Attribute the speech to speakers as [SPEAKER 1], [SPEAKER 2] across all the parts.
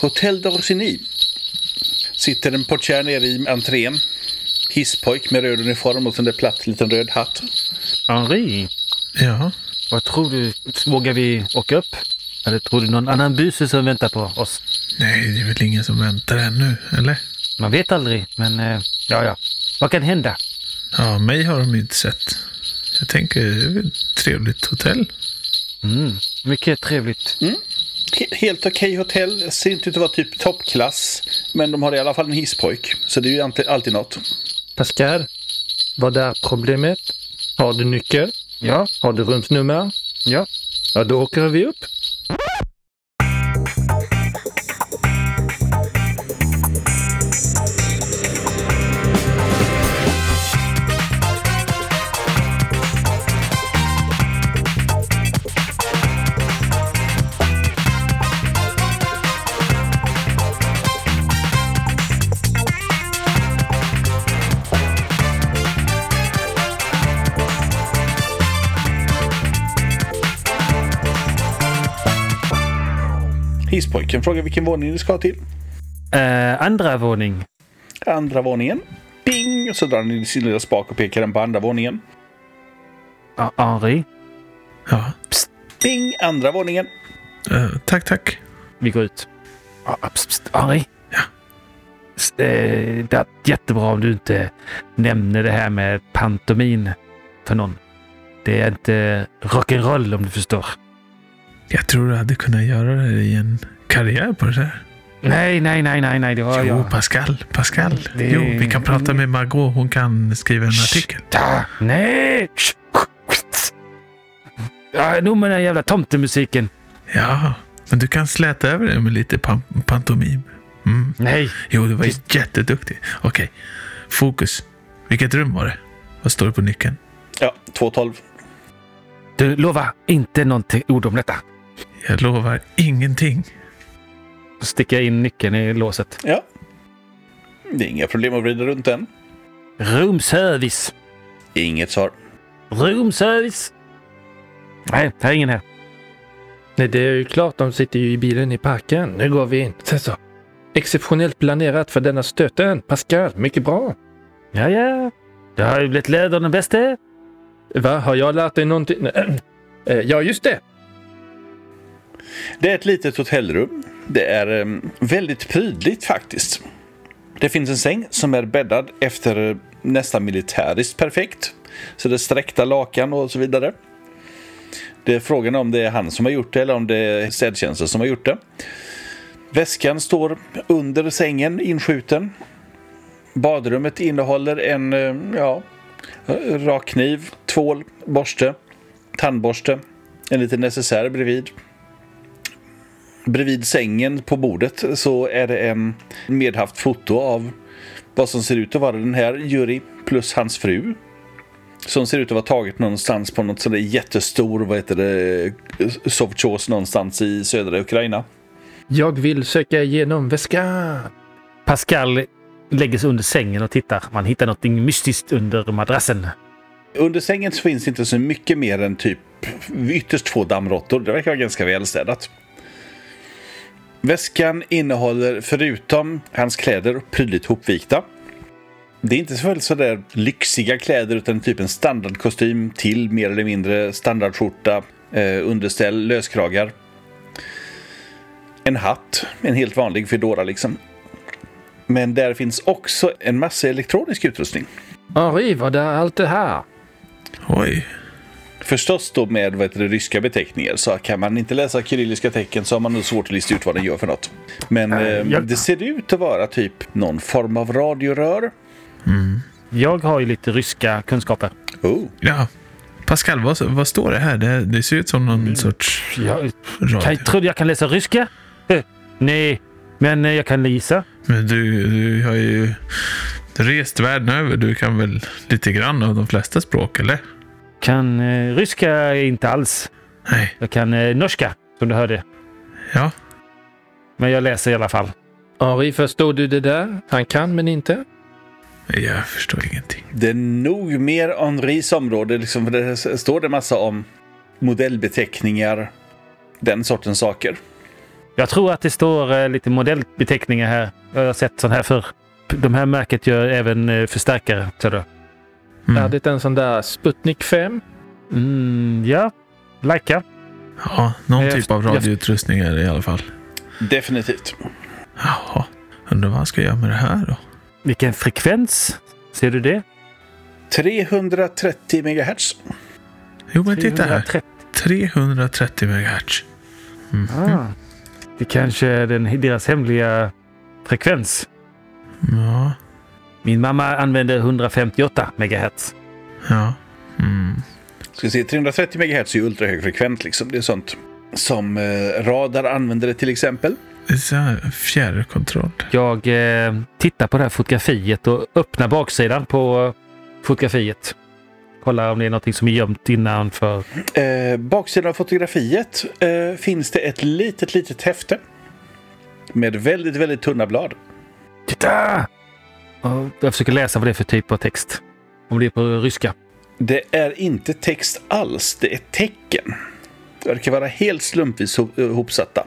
[SPEAKER 1] Hotel d'Orsini sitter en portier nere i entrén. Hisspojk med röd uniform och sån där platt liten röd hatt.
[SPEAKER 2] Henri,
[SPEAKER 3] Ja.
[SPEAKER 2] vad tror du? Vågar vi åka upp? Eller tror du någon annan buse som väntar på oss?
[SPEAKER 3] Nej, det är väl ingen som väntar ännu, eller?
[SPEAKER 2] Man vet aldrig, men eh, ja, ja. Vad kan hända?
[SPEAKER 3] Ja, mig har de ju inte sett. Jag tänker, det är väl ett trevligt hotell.
[SPEAKER 2] Mm, mycket trevligt.
[SPEAKER 1] He- Helt okej hotell. Ser inte ut att vara typ toppklass. Men de har i alla fall en hisspojk. Så det är ju alltid, alltid något.
[SPEAKER 4] Pascal, vad är problemet? Har du nyckel?
[SPEAKER 2] Ja,
[SPEAKER 4] Har du rumsnummer?
[SPEAKER 2] ja.
[SPEAKER 4] Ja, då åker vi upp.
[SPEAKER 1] Hisspojken frågar vilken våning du ska till.
[SPEAKER 2] Eh, andra våning.
[SPEAKER 1] Andra våningen. Ping! Och så drar han in sin lilla spak och pekar den på andra våningen.
[SPEAKER 2] Ja, Henri,
[SPEAKER 3] Ja.
[SPEAKER 1] Ping! Andra våningen.
[SPEAKER 3] Eh, tack, tack.
[SPEAKER 2] vi går ut. Ja, ah, pst, pst, Henri.
[SPEAKER 3] Ja.
[SPEAKER 2] S- eh, det är jättebra om du inte nämner det här med pantomin för någon. Det är inte rock'n'roll om du förstår.
[SPEAKER 3] Jag tror du hade kunnat göra det i en karriär på det där.
[SPEAKER 2] Nej, nej, nej, nej, nej. Det var
[SPEAKER 3] jo,
[SPEAKER 2] jag.
[SPEAKER 3] Pascal. Pascal.
[SPEAKER 2] Det-
[SPEAKER 3] Jo, vi kan prata med Margot. Hon kan skriva en artikel.
[SPEAKER 2] Ta, nej! Ja, nog med den jävla tomtemusiken.
[SPEAKER 3] Ja, men du kan släta över det med lite pan- pantomim. Mm.
[SPEAKER 2] Nej.
[SPEAKER 3] Jo, du var jätteduktig. Okej, fokus. Vilket rum var det? Vad står det på nyckeln?
[SPEAKER 1] Ja, 212.
[SPEAKER 2] Du, lova inte någonting ord om detta.
[SPEAKER 3] Jag lovar ingenting.
[SPEAKER 2] Så sticker jag in nyckeln i låset.
[SPEAKER 1] Ja. Det är inga problem att vrida runt den.
[SPEAKER 2] Roomservice.
[SPEAKER 1] Inget svar.
[SPEAKER 2] Roomservice. Nej, det är ingen här.
[SPEAKER 4] Nej, det är ju klart. De sitter ju i bilen i parken. Nu går vi in. Sen så. Exceptionellt planerat för denna stöten. Pascal, mycket bra.
[SPEAKER 2] Ja, ja. Det har ju blivit läder den bästa.
[SPEAKER 4] Va, har jag lärt dig någonting? Nej, eh, Ja, just det.
[SPEAKER 1] Det är ett litet hotellrum. Det är em, väldigt prydligt faktiskt. Det finns en säng som är bäddad efter eh, nästan militäriskt perfekt. Så det är sträckta lakan och så vidare. Det är frågan om det är han som har gjort det eller om det är städtjänsten som har gjort det. Väskan står under sängen inskjuten. Badrummet innehåller en em, ja, eh, rak kniv, tvål, borste, tandborste, en liten necessär bredvid. Bredvid sängen på bordet så är det en medhaft foto av vad som ser ut att vara den här Juri plus hans fru. Som ser ut att vara taget någonstans på något sådär jättestor, vad heter det, sovchos någonstans i södra Ukraina.
[SPEAKER 4] Jag vill söka igenom väskan.
[SPEAKER 2] Pascal lägger sig under sängen och tittar. Man hittar någonting mystiskt under madrassen.
[SPEAKER 1] Under sängen så finns inte så mycket mer än typ ytterst två dammråttor. Det verkar vara ganska välstädat. Väskan innehåller förutom hans kläder prydligt hopvikta. Det är inte så väl sådär lyxiga kläder utan typ en standardkostym till mer eller mindre standardskjorta, eh, underställ, löskragar. En hatt, en helt vanlig fedora liksom. Men där finns också en massa elektronisk utrustning.
[SPEAKER 4] Henri, vad är allt det här?
[SPEAKER 3] Oj.
[SPEAKER 1] Förstås då med vad heter det, ryska beteckningar så kan man inte läsa kyrilliska tecken så har man nog svårt att lista ut vad den gör för något. Men eh,
[SPEAKER 2] jag-
[SPEAKER 1] det ser ut att vara typ någon form av radiorör.
[SPEAKER 2] Jag har ju lite ryska kunskaper.
[SPEAKER 1] Oh.
[SPEAKER 3] Ja. Pascal, vad, vad står det här? Det, det ser ut som någon sorts
[SPEAKER 2] Jag,
[SPEAKER 3] radio.
[SPEAKER 2] Mm. kan, tror du jag kan läsa ryska? Eh, Nej, men eh, jag kan gissa.
[SPEAKER 3] Men du, du har ju rest världen över. Du kan väl lite grann av de flesta språk, eller?
[SPEAKER 2] Kan eh, ryska inte alls.
[SPEAKER 3] Nej.
[SPEAKER 2] Jag kan eh, norska, som du hörde.
[SPEAKER 3] Ja.
[SPEAKER 2] Men jag läser i alla fall.
[SPEAKER 4] Henri, förstår du det där? Han kan men inte.
[SPEAKER 3] Jag förstår ingenting.
[SPEAKER 1] Det är nog mer Henris område, liksom, för det s- står det massa om modellbeteckningar, den sortens saker.
[SPEAKER 2] Jag tror att det står eh, lite modellbeteckningar här. Jag har sett sån här förr. De här märket gör även eh, förstärkare. Ser du?
[SPEAKER 3] Mm.
[SPEAKER 4] Är det en sån där Sputnik 5?
[SPEAKER 2] Mm, ja, Leica.
[SPEAKER 3] Ja, någon
[SPEAKER 2] Jag-
[SPEAKER 3] typ av
[SPEAKER 2] jag-
[SPEAKER 3] radioutrustning är det i alla fall.
[SPEAKER 1] Definitivt.
[SPEAKER 3] Jaha, undrar vad han ska göra med det här då?
[SPEAKER 2] Vilken frekvens? Ser du det?
[SPEAKER 1] 330 megahertz.
[SPEAKER 3] Jo, men titta här.
[SPEAKER 2] 330.
[SPEAKER 3] 330 MHz. Mm.
[SPEAKER 2] Ah. Det kanske är den, deras hemliga frekvens.
[SPEAKER 3] Ja,
[SPEAKER 2] Min mamma använder 158 megahertz.
[SPEAKER 3] ja. Mm.
[SPEAKER 1] Ska se, 330 megahertz är ju ultrahögfrekvent liksom. Det är sånt som eh, radar använder det till exempel.
[SPEAKER 3] Det är så här fjärrkontroll.
[SPEAKER 2] Jag eh, tittar på det här fotografiet och öppnar baksidan på fotografiet. Kollar om det är någonting som är gömt innanför.
[SPEAKER 1] Eh, baksidan av fotografiet eh, finns det ett litet, litet häfte. Med väldigt, väldigt tunna blad.
[SPEAKER 2] Titta! Och jag försöker läsa vad det är för typ av text. Om det är på ryska.
[SPEAKER 1] Det är inte text alls, det är tecken. Det verkar vara helt slumpvis ho- eh, hopsatta.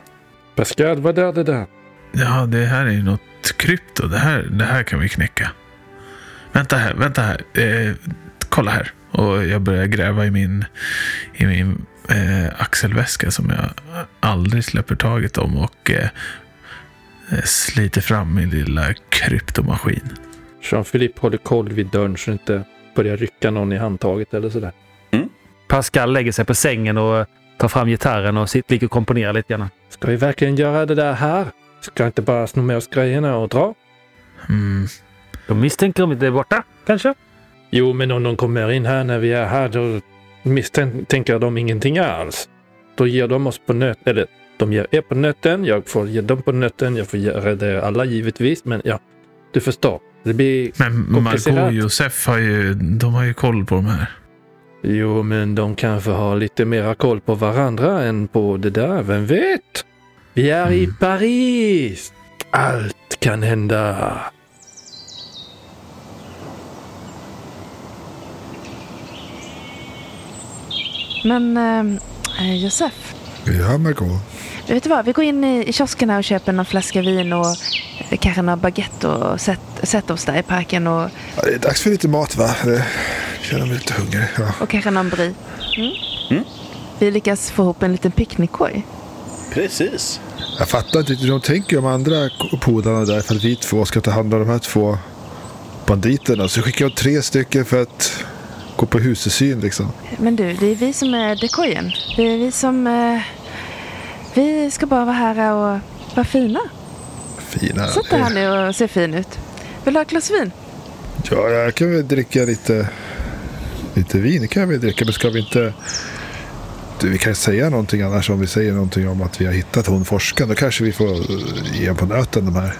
[SPEAKER 4] Pascal, vad är det där?
[SPEAKER 3] Ja, det här är ju något krypto. Det här, det här kan vi knäcka. Vänta här, vänta här. Eh, kolla här. Och jag börjar gräva i min, i min eh, axelväska som jag aldrig släpper taget om och eh, eh, sliter fram min lilla kryptomaskin.
[SPEAKER 4] Jean-Philippe håller koll vid dörren så inte börjar rycka någon i handtaget eller sådär.
[SPEAKER 2] Pascal lägger sig på sängen och tar fram gitarren och sitter, ligger och komponerar lite grann.
[SPEAKER 4] Ska vi verkligen göra det där här? Ska jag inte bara sno med oss grejerna och dra?
[SPEAKER 3] Mm.
[SPEAKER 2] De misstänker om det är borta, kanske?
[SPEAKER 4] Jo, men om de kommer in här när vi är här då misstänker de ingenting alls. Då ger de oss på nöt... Eller, de ger er på nöten, jag får ge dem på nöten, jag får ge det alla givetvis, men ja, du förstår. Det blir...
[SPEAKER 3] Men Margot
[SPEAKER 4] Komplicerat.
[SPEAKER 3] och Josef har ju, de har ju koll på de här.
[SPEAKER 4] Jo, men de kanske har lite mera koll på varandra än på det där, vem vet? Vi är i
[SPEAKER 3] Mm.
[SPEAKER 4] Paris! Allt kan hända.
[SPEAKER 5] Men ehm, eh, Josef,
[SPEAKER 6] Ja, Margot.
[SPEAKER 5] vet du vad? Vi går in i, i kiosken här och köper någon flaska vin och eh, kanske några baguette och sätt- sätter oss där i parken och,
[SPEAKER 6] Ja, det är dags för lite mat, va? Jag känner mig lite hungrig. Ja.
[SPEAKER 5] och kanske någon brie. Mm.
[SPEAKER 1] Mm.
[SPEAKER 5] Vi lyckas få ihop en liten picknickkorg.
[SPEAKER 1] Precis.
[SPEAKER 6] Jag fattar inte riktigt hur de tänker om andra k- polarna där. För att vi två ska ta hand om de här två banditerna. Så skickar de tre stycken för att gå på husesyn liksom.
[SPEAKER 5] Men du, det är vi som är dekojen. Det är vi som... Eh, vi ska bara vara här och vara fina.
[SPEAKER 6] Fina.
[SPEAKER 5] Sätt dig här nu och se fin ut. Vill du ha ett glas vin?
[SPEAKER 6] Ja, jag kan väl dricka lite, lite vin. Det kan jag väl dricka. Men ska vi inte... Du, vi kan säga någonting annars om vi säger någonting om att vi har hittat hon forskaren. Då kanske vi får eh, ge på nöten de här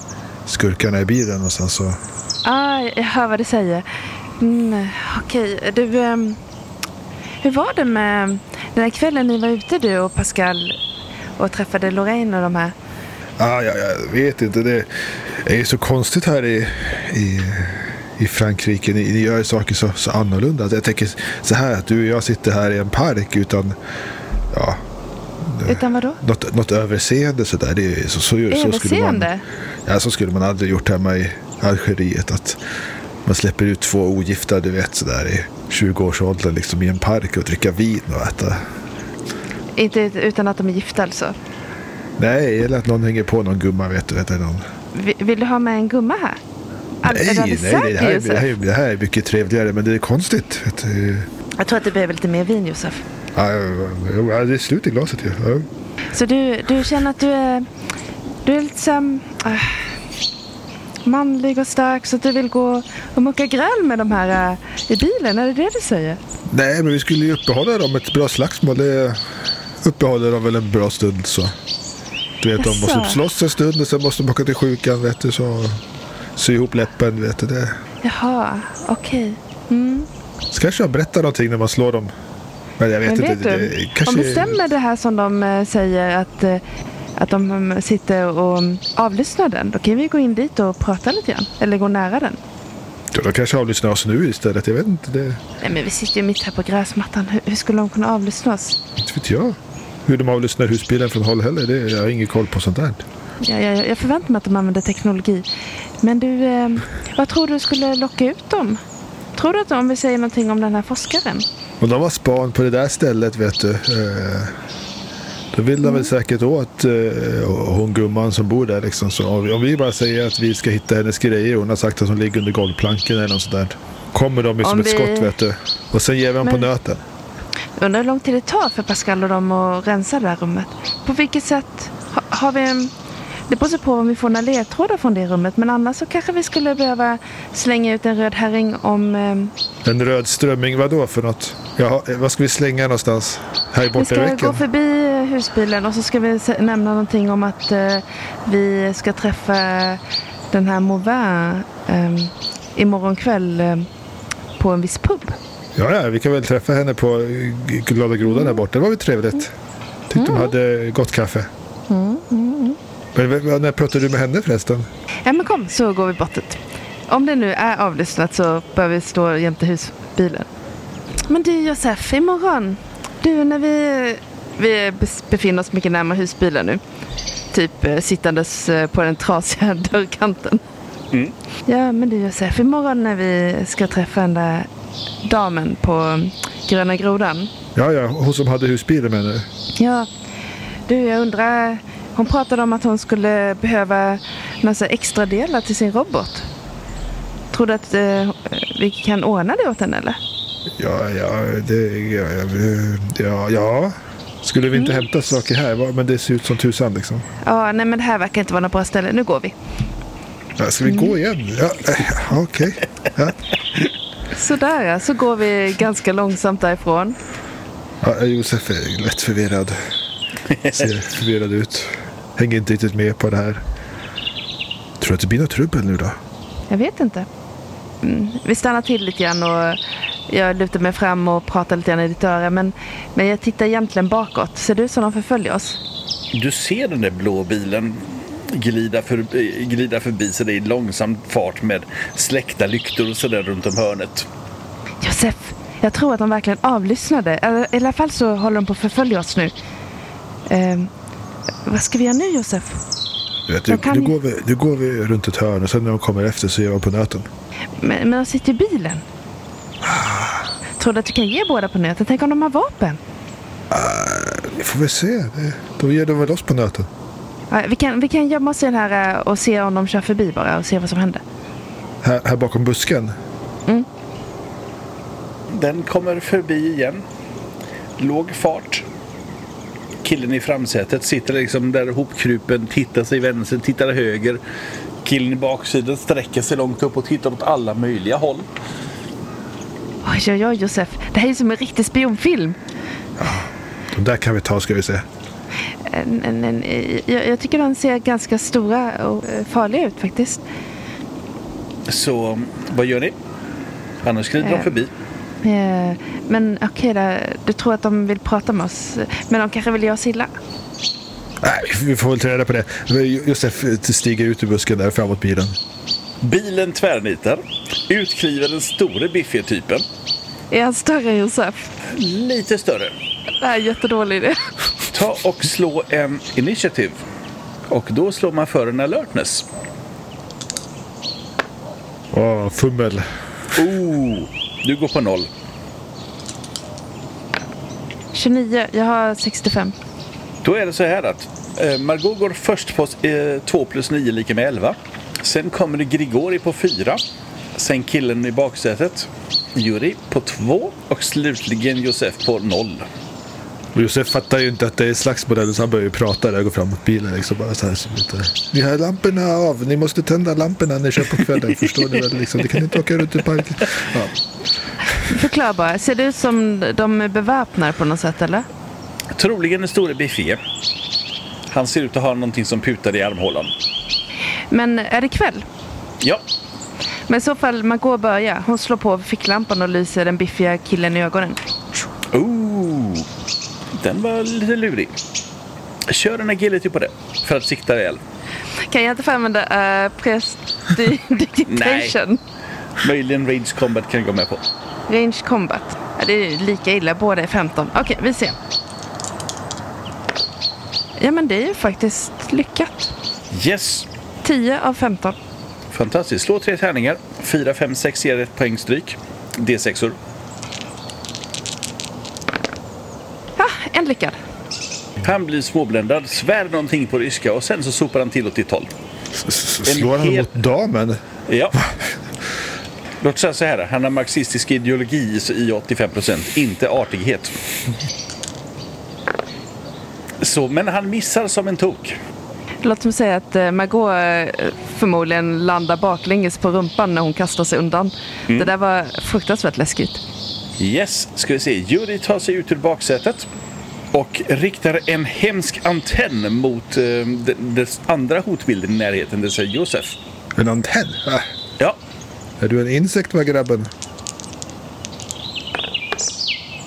[SPEAKER 6] skurkarna i bilen och sen så...
[SPEAKER 5] Ja, Ah, jag hör vad du säger. Mm, Okej, du... ehm, hur var det med den här kvällen ni var ute du och Pascal och träffade Lorraine och de här?
[SPEAKER 6] Ah, ja, jag vet inte. Det är ju så konstigt här i, i, i Frankrike. Ni, ni gör ju saker så, så annorlunda. Alltså, Jag tänker så här att du och jag sitter här i en park utan ja,
[SPEAKER 5] Utan vad då?
[SPEAKER 6] något, något överseende. Så där. Det är, ju- så, så, så skulle man,
[SPEAKER 5] Överseende?
[SPEAKER 6] ja, så skulle man aldrig gjort hemma i Algeriet. Att man släpper ut två ogifta, du vet, så där i 20-årsåldern liksom, i en park och dricka vin och äta.
[SPEAKER 5] Inte ut- utan att de är gifta alltså?
[SPEAKER 6] Nej, eller att någon hänger på någon gumma, vet du. Vet, eller någon.
[SPEAKER 5] Vi- Vill du ha med en gumma här? Al- är du
[SPEAKER 6] Nej,
[SPEAKER 5] alldeles
[SPEAKER 6] nej,
[SPEAKER 5] säker
[SPEAKER 6] det här, är, det, här
[SPEAKER 5] Josef?
[SPEAKER 6] är, det här är mycket trevligare, men det är konstigt. Att, eh,
[SPEAKER 5] Jag tror att du behöver lite mer vin Josef.
[SPEAKER 6] ja, ja, ja, det är slut i glaset ju. Ja.
[SPEAKER 5] Så du, du känner att du är, du är lite såhär, äh, manlig och stark så att du vill gå och mucka gräl med de här äh, i bilen? Är det det du säger?
[SPEAKER 6] Nej, men vi skulle ju uppehålla dem ett bra slagsmål. Det uppehåller dem väl en bra stund så. Du vet, de måste
[SPEAKER 5] Jaså?
[SPEAKER 6] slåss en stund och sen måste de åka till sjukan, vet du, så sy ihop läppen, vet du det.
[SPEAKER 5] Jaha, okej. Mm.
[SPEAKER 6] Så kanske jag berättar någonting när man slår dem. Men jag vet
[SPEAKER 5] Men
[SPEAKER 6] inte.
[SPEAKER 5] vet
[SPEAKER 6] det,
[SPEAKER 5] du,
[SPEAKER 6] det, kanske...
[SPEAKER 5] om det stämmer det här som de eh, säger att, eh, att de mm, sitter och mm, avlyssnar den, då kan vi gå in dit och prata lite grann. Eller gå nära den.
[SPEAKER 6] Ja, De kanske avlyssnar oss nu istället. Jag vet inte. Det,
[SPEAKER 5] Nej men vi sitter ju mitt här på gräsmattan. Hur, hur skulle de kunna avlyssna oss?
[SPEAKER 6] inte vet jag. Hur de avlyssnar husbilen från håll heller. Det, jag har ingen koll på sånt där.
[SPEAKER 5] Jag, jag, jag förväntar mig att de använder teknologi. Men du, eh, vad tror du skulle locka ut dem? Tror du att om vi säger någonting om den här forskaren?
[SPEAKER 6] Och de har span på det där stället vet du. Eh, Då vill
[SPEAKER 5] Mm.
[SPEAKER 6] de väl säkert åt eh, hon gumman som bor där liksom. Så om vi- om vi bara säger att vi ska hitta hennes grejer. Hon har sagt att hon ligger under golvplanken eller något sånt där. Kommer de ju som
[SPEAKER 5] Om
[SPEAKER 6] ett
[SPEAKER 5] vi-
[SPEAKER 6] skott vet du. Och sen ger vi dem på
[SPEAKER 5] Men-
[SPEAKER 6] nöten.
[SPEAKER 5] Undrar hur lång tid det tar för Pascal och dem att rensa det här rummet. På vilket sätt ha, har vi... en- Det beror sig på om vi får några ledtrådar från det rummet. Men annars så kanske vi skulle behöva slänga ut en röd herring om... ehm,
[SPEAKER 6] En röd strömming, vad då för något? Jaha, eh, vad ska vi slänga någonstans? Här
[SPEAKER 5] vi
[SPEAKER 6] borta i
[SPEAKER 5] ska gå
[SPEAKER 6] veckan?
[SPEAKER 5] förbi eh, husbilen och så ska vi se- nämna någonting om att eh, vi ska träffa den här Mauvin um, imorgon kväll eh, på en viss pub.
[SPEAKER 6] Ja, ja, vi kan väl träffa henne på eh, Glada Grodan
[SPEAKER 5] Mm.
[SPEAKER 6] där borta. Det var väl trevligt. Tyckte de hade gott kaffe.
[SPEAKER 5] Mm,
[SPEAKER 6] Men v- v- när pratade du med henne förresten?
[SPEAKER 5] Ja men kom så går vi bortåt. Om det nu är avlyssnat så bör vi stå jämte husbilen. Men du Josef, imorgon. Du när vi, vi bes- befinner oss mycket närmare husbilen nu. Typ eh, sittandes eh, på den trasiga dörrkanten.
[SPEAKER 1] Mm.
[SPEAKER 5] Ja men du Josef, imorgon när vi ska träffa den där damen på mm, Gröna Grodan.
[SPEAKER 6] Ja, ja, hon som hade husbilen med henne.
[SPEAKER 5] Ja, du jag undrar. Hon pratade om att hon skulle behöva några så här extra delar till sin robot. Tror du att eh, vi kan ordna det åt henne eller?
[SPEAKER 6] Ja, ja, det, ja, ja, ja, ja. Skulle vi inte
[SPEAKER 5] Mm.
[SPEAKER 6] hämta saker här? Va, Men det ser ut som tusan liksom.
[SPEAKER 5] Ja, nej men det här verkar inte vara något bra ställe. Nu går vi.
[SPEAKER 6] Ja, ska vi gå
[SPEAKER 5] Mm.
[SPEAKER 6] igen? Ja, eh, okej.
[SPEAKER 5] Sådär ja, så går vi ganska långsamt därifrån.
[SPEAKER 6] Ja, Josef är lätt förvirrad. Ser förvirrad ut. Hänger inte riktigt med på det här. Tror du att det blir något trubbel nu då?
[SPEAKER 5] Jag vet inte. Mm, vi stannar till lite grann och jag lutar mig fram och pratar lite grann i ditt öra. Men, men jag tittar egentligen bakåt. Ser du som de förföljer oss?
[SPEAKER 1] Du ser den där blå bilen glida, för, eh, glida förbi sig dig i långsam fart med släckta lyktor och sådär runt om hörnet.
[SPEAKER 5] Josef, jag tror att de verkligen avlyssnade. Eller, I alla fall så håller de på att förfölja oss nu. Ehm, vad ska vi göra nu Josef?
[SPEAKER 6] Du Vet, nu,
[SPEAKER 5] Jag kan-
[SPEAKER 6] nu, går vi, nu går vi runt ett hörn och sen när de kommer efter så ger vi på nöten.
[SPEAKER 5] Men, men de sitter i bilen. Tror du att du kan ge båda på nöten? Tänk om de har vapen?
[SPEAKER 6] Vi får väl se. Det- Då ger de väl oss på nöten.
[SPEAKER 5] Ja, vi, kan, vi kan gömma oss i den här eh, och se om de kör förbi bara och se vad som händer.
[SPEAKER 6] Här, här bakom busken.
[SPEAKER 1] Den kommer förbi igen. Låg fart. Killen i framsätet sitter liksom där hopkrupen, tittar sig vänster, tittar höger. Killen i baksidan sträcker sig långt upp och tittar åt alla möjliga håll.
[SPEAKER 5] Oj, oj, oj Josef. Det här är ju som en riktig spionfilm.
[SPEAKER 6] De där kan vi ta ska vi se.
[SPEAKER 5] Eh, n- n- eh, Jag, jag tycker de ser ganska stora och eh, farliga ut faktiskt.
[SPEAKER 1] Så vad gör ni? Annars glider de
[SPEAKER 5] Eh.
[SPEAKER 1] förbi.
[SPEAKER 5] Eh, Men okej då, du tror att de vill prata med oss. Men de kanske vill göra oss illa.
[SPEAKER 6] Nej, vi- vi får väl ta reda på det. Men Josef stiger ut ur busken där framåt bilen.
[SPEAKER 1] Bilen tvärnitar. Ut kliver den store biffiga typen.
[SPEAKER 5] Är han större än Josef?
[SPEAKER 1] Lite större.
[SPEAKER 5] Det här är en jättedålig idé.
[SPEAKER 1] Ta och slå en initiativ. Och då slår man för en alertness.
[SPEAKER 6] Åh, fummel.
[SPEAKER 1] Oh, du går på noll.
[SPEAKER 5] 29, jag har 65.
[SPEAKER 1] Då är det så här att eh, Margot går först på eh, 2 plus 9 lika med 11. Sen kommer det Grigori på 4. Sen killen i baksätet, Juri, på 2. Och slutligen Josef på 0.
[SPEAKER 6] Och Josef fattar ju inte att det är slagsmål så han börjar ju prata där och går framåt bilen liksom bara så här som inte... Ni har lamporna av, ni måste tända lamporna när ni kör på kvällen förstår ni väl liksom. Ni kan inte åka runt i parken. Ja.
[SPEAKER 5] Förklara bara, ser det ut som de är beväpnade på något sätt eller?
[SPEAKER 1] Troligen den store biffige. Han ser ut att ha någonting som putar i armhålan.
[SPEAKER 5] Men är det kväll?
[SPEAKER 1] Ja,
[SPEAKER 5] Men i så fall, man går och börjar. Hon slår på ficklampan och lyser den biffiga killen i ögonen.
[SPEAKER 1] Ooh, den var lite lurig. Kör en agility på det för att sikta väl.
[SPEAKER 5] Kan jag inte få använda uh, prestidigitation?
[SPEAKER 1] Möjligen Rage Combat kan jag gå med på.
[SPEAKER 5] Range combat. Ja, det är ju lika illa, båda är 15. Okej, vi ser. Ja men det är ju faktiskt lyckat.
[SPEAKER 1] Yes!
[SPEAKER 5] 10 av 15.
[SPEAKER 1] Fantastiskt. Slå tre tärningar. 4, 5, 6 ger ett poäng stryk. D6-or.
[SPEAKER 5] Ah, en lyckad.
[SPEAKER 1] Han blir småbländad, svär någonting på ryska och sen så sopar han till åt ditt håll.
[SPEAKER 6] S- s- Slår han
[SPEAKER 1] hel-
[SPEAKER 6] mot damen?
[SPEAKER 1] Ja. Låt oss säga så här, han har marxistisk ideologi i 85%, inte artighet. Så, men han missar som en tok.
[SPEAKER 5] Låt mig säga att eh, Margot eh, förmodligen landar baklänges på rumpan när hon kastar sig undan. Det där var fruktansvärt läskigt.
[SPEAKER 1] Yes, ska vi se. Judy tar sig ut ur baksätet och riktar en hemsk antenn mot eh, den, den andra hotbilden i närheten, det vill säga Josef.
[SPEAKER 6] En antenn? Äh,
[SPEAKER 1] Ja,
[SPEAKER 6] är du en insekt va grabben?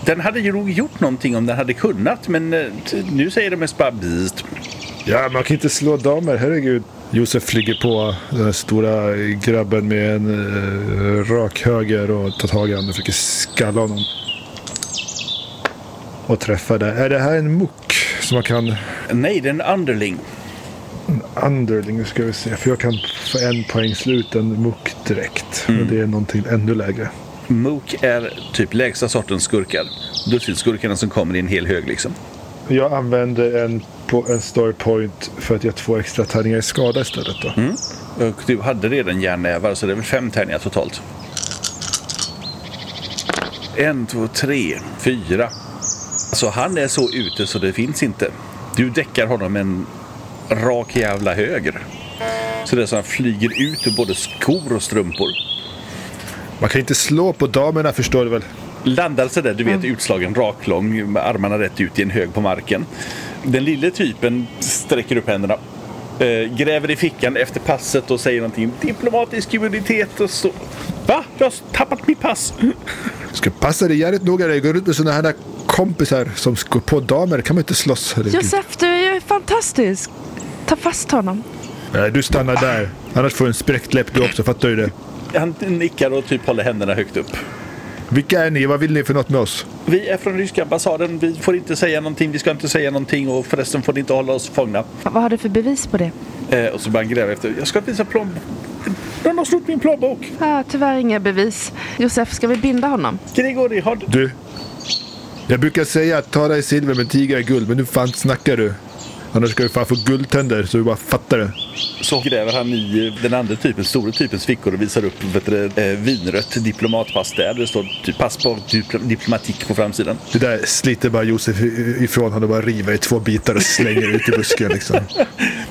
[SPEAKER 1] den hade ju nog gjort någonting om den hade kunnat, men eh, t- nu säger de mest bara bzzt.
[SPEAKER 6] Ja, man kan inte slå damer, herregud. Josef flyger på den här stora grabben med en eh, rak höger och tar tag i honom och försöker skalla honom. Och träffar där. Är det här en muck som man kan
[SPEAKER 1] Nej, det är en underling.
[SPEAKER 6] underling? Nu ska vi se. För jag kan få en poäng slut, en muck direkt. Och det är någonting ännu lägre.
[SPEAKER 1] Mook är typ lägsta sortens skurkar. Dussinskurkarna som kommer i en hel hög liksom.
[SPEAKER 6] Jag använder en, på en story point för att jag två extra tärningar i skada istället då.
[SPEAKER 1] Och du hade redan järnnävar så det är väl fem tärningar totalt. En, två, tre, fyra. Alltså han är så ute så det finns inte. Du däckar honom en rak jävla höger. Så det är så han flyger ut ur både skor och strumpor.
[SPEAKER 6] Man kan inte slå på damerna förstår du väl?
[SPEAKER 1] Landar sig där, du vet, utslagen raklång med armarna rätt ut i en hög på marken. Den lille typen sträcker upp händerna. eh, Gräver i fickan efter passet och säger någonting diplomatisk immunitet och så. Va? Jag har tappat mitt pass!
[SPEAKER 6] Ska passa dig jävligt noga när du går ut med sådana här kompisar som går på damer. kan man inte slåss. herregud.
[SPEAKER 5] Josef, du är ju fantastisk. Ta fast honom.
[SPEAKER 6] Nej, du stannar där. Annars får du en spräckt läpp du också, fattar du det?
[SPEAKER 1] Han nickar och typ håller händerna högt upp.
[SPEAKER 6] Vilka är ni? Vad vill ni för något med oss?
[SPEAKER 1] Vi är från ryska ambassaden, vi får inte säga någonting, vi ska inte säga någonting och förresten får ni inte hålla oss fångna.
[SPEAKER 5] Vad har du för bevis på det?
[SPEAKER 1] Eh, och så börjar han gräva efter. Jag ska visa plomb... Någon har snott min plånbok!
[SPEAKER 5] Ah, tyvärr inga bevis. Josef, ska vi binda honom?
[SPEAKER 1] Grigori, har du...
[SPEAKER 6] Du? Jag brukar säga att ta dig silver men tiga är guld, men nu fan snackar du. Annars ska du fan få guldtänder så du bara fattar det.
[SPEAKER 1] Så gräver han i eh, den andra typen, stora typens fickor och visar upp vet du, eh, vinrött diplomatpass där. Det står typ pass på dipl- diplomatik på framsidan.
[SPEAKER 6] Det där sliter bara Josef i- ifrån honom och bara river i två bitar och slänger ut i busken liksom.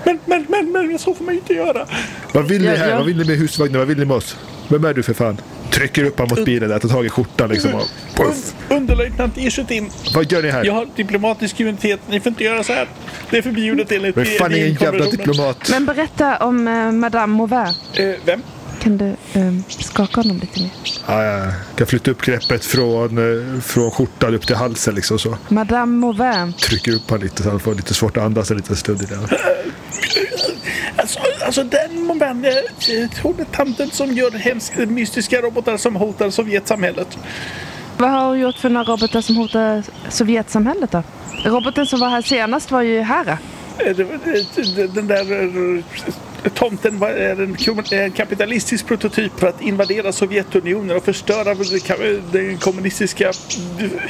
[SPEAKER 1] Men, men, men, men, så får man ju inte göra!
[SPEAKER 6] Vad vill ni
[SPEAKER 5] Ja,
[SPEAKER 6] här?
[SPEAKER 5] ja.
[SPEAKER 6] Vad vill ni med husvagnen? Vad vill ni med oss? Vem är du för fan? Trycker upp honom mot bilen där, tar tag i skjortan liksom och puff.
[SPEAKER 1] Un- underlöjtnant Ishutin,
[SPEAKER 6] Vad gör ni här?
[SPEAKER 1] jag har diplomatisk immunitet, ni får inte göra så här. Det är förbjudet enligt
[SPEAKER 6] Jag är fan ingen jävla
[SPEAKER 1] konventionen.
[SPEAKER 6] diplomat.
[SPEAKER 5] Men berätta om eh, Madame Mauvais.
[SPEAKER 1] Eh, vem?
[SPEAKER 5] Kan du eh, skaka honom lite mer?
[SPEAKER 6] Ja, ja, ja. Jag flyttar upp greppet från, eh, från skjortan upp till halsen liksom så.
[SPEAKER 5] Madame Mauvais.
[SPEAKER 6] Trycker upp honom lite så han får lite svårt att andas en liten stund. i det.
[SPEAKER 1] Alltså, alltså den moment, eh, hon är tanten som gör hemska, mystiska robotar som hotar Sovjetsamhället.
[SPEAKER 5] Vad har hon gjort för några robotar som hotar Sovjetsamhället då? Roboten som var här senast var ju här.
[SPEAKER 1] Eh, det var, eh, d- Den där eh, tomten var- är en kom- är en kapitalistisk prototyp för att invadera Sovjetunionen och förstöra den kommunistiska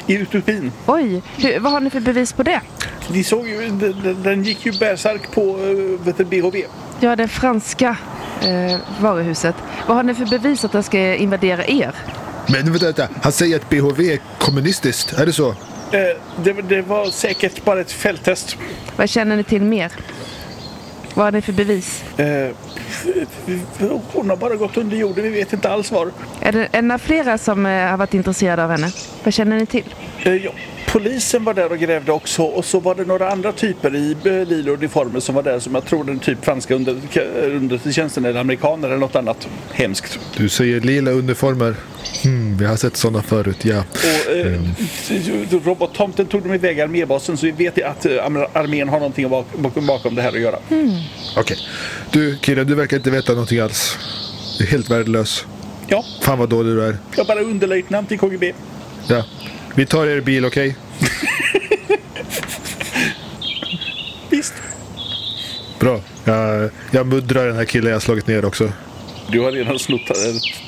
[SPEAKER 1] eh, utopin.
[SPEAKER 5] Oj, hur, vad har ni för bevis på det?
[SPEAKER 1] Ni såg ju, d- d- den gick ju bärsärk på eh, vet du, BHV.
[SPEAKER 5] Ja, det franska eh, varuhuset. Vad har ni för bevis att den ska invadera er?
[SPEAKER 6] Men vänta, vänta, han säger att BHV är kommunistiskt, är det så?
[SPEAKER 1] Eh, Det, det var säkert bara ett fälttest.
[SPEAKER 5] Vad känner ni till mer? Vad har ni för bevis?
[SPEAKER 1] Eh, Hon har bara gått under jorden, vi vet inte alls var.
[SPEAKER 5] Är det, är det några flera som eh, har varit intresserade av henne? Vad känner ni till?
[SPEAKER 1] Eh, Ja, polisen var där och grävde också och så var det några andra typer i eh, lila uniformer som var där som jag tror den typ franska under- eh, underrättelsetjänsten eller amerikaner eller något annat hemskt.
[SPEAKER 6] Du säger lila uniformer. Hmm, vi har sett sådana förut, ja.
[SPEAKER 1] Och eh, robottomten tog dem i vägar med basen så vi vet att eh, amer- armén har någonting bak- bakom- bakom det här att göra.
[SPEAKER 6] Okej. Du killen, du verkar inte veta någonting alls. Du är helt värdelös.
[SPEAKER 1] Ja,
[SPEAKER 6] Fan vad dålig du är.
[SPEAKER 1] jag är bara underlöjtnant i KGB.
[SPEAKER 6] Ja. Vi tar er bil, okej?
[SPEAKER 1] Visst.
[SPEAKER 6] Bra. Jag, jag muddrar den här killen jag slagit ner också.
[SPEAKER 1] Du har redan slott, eh,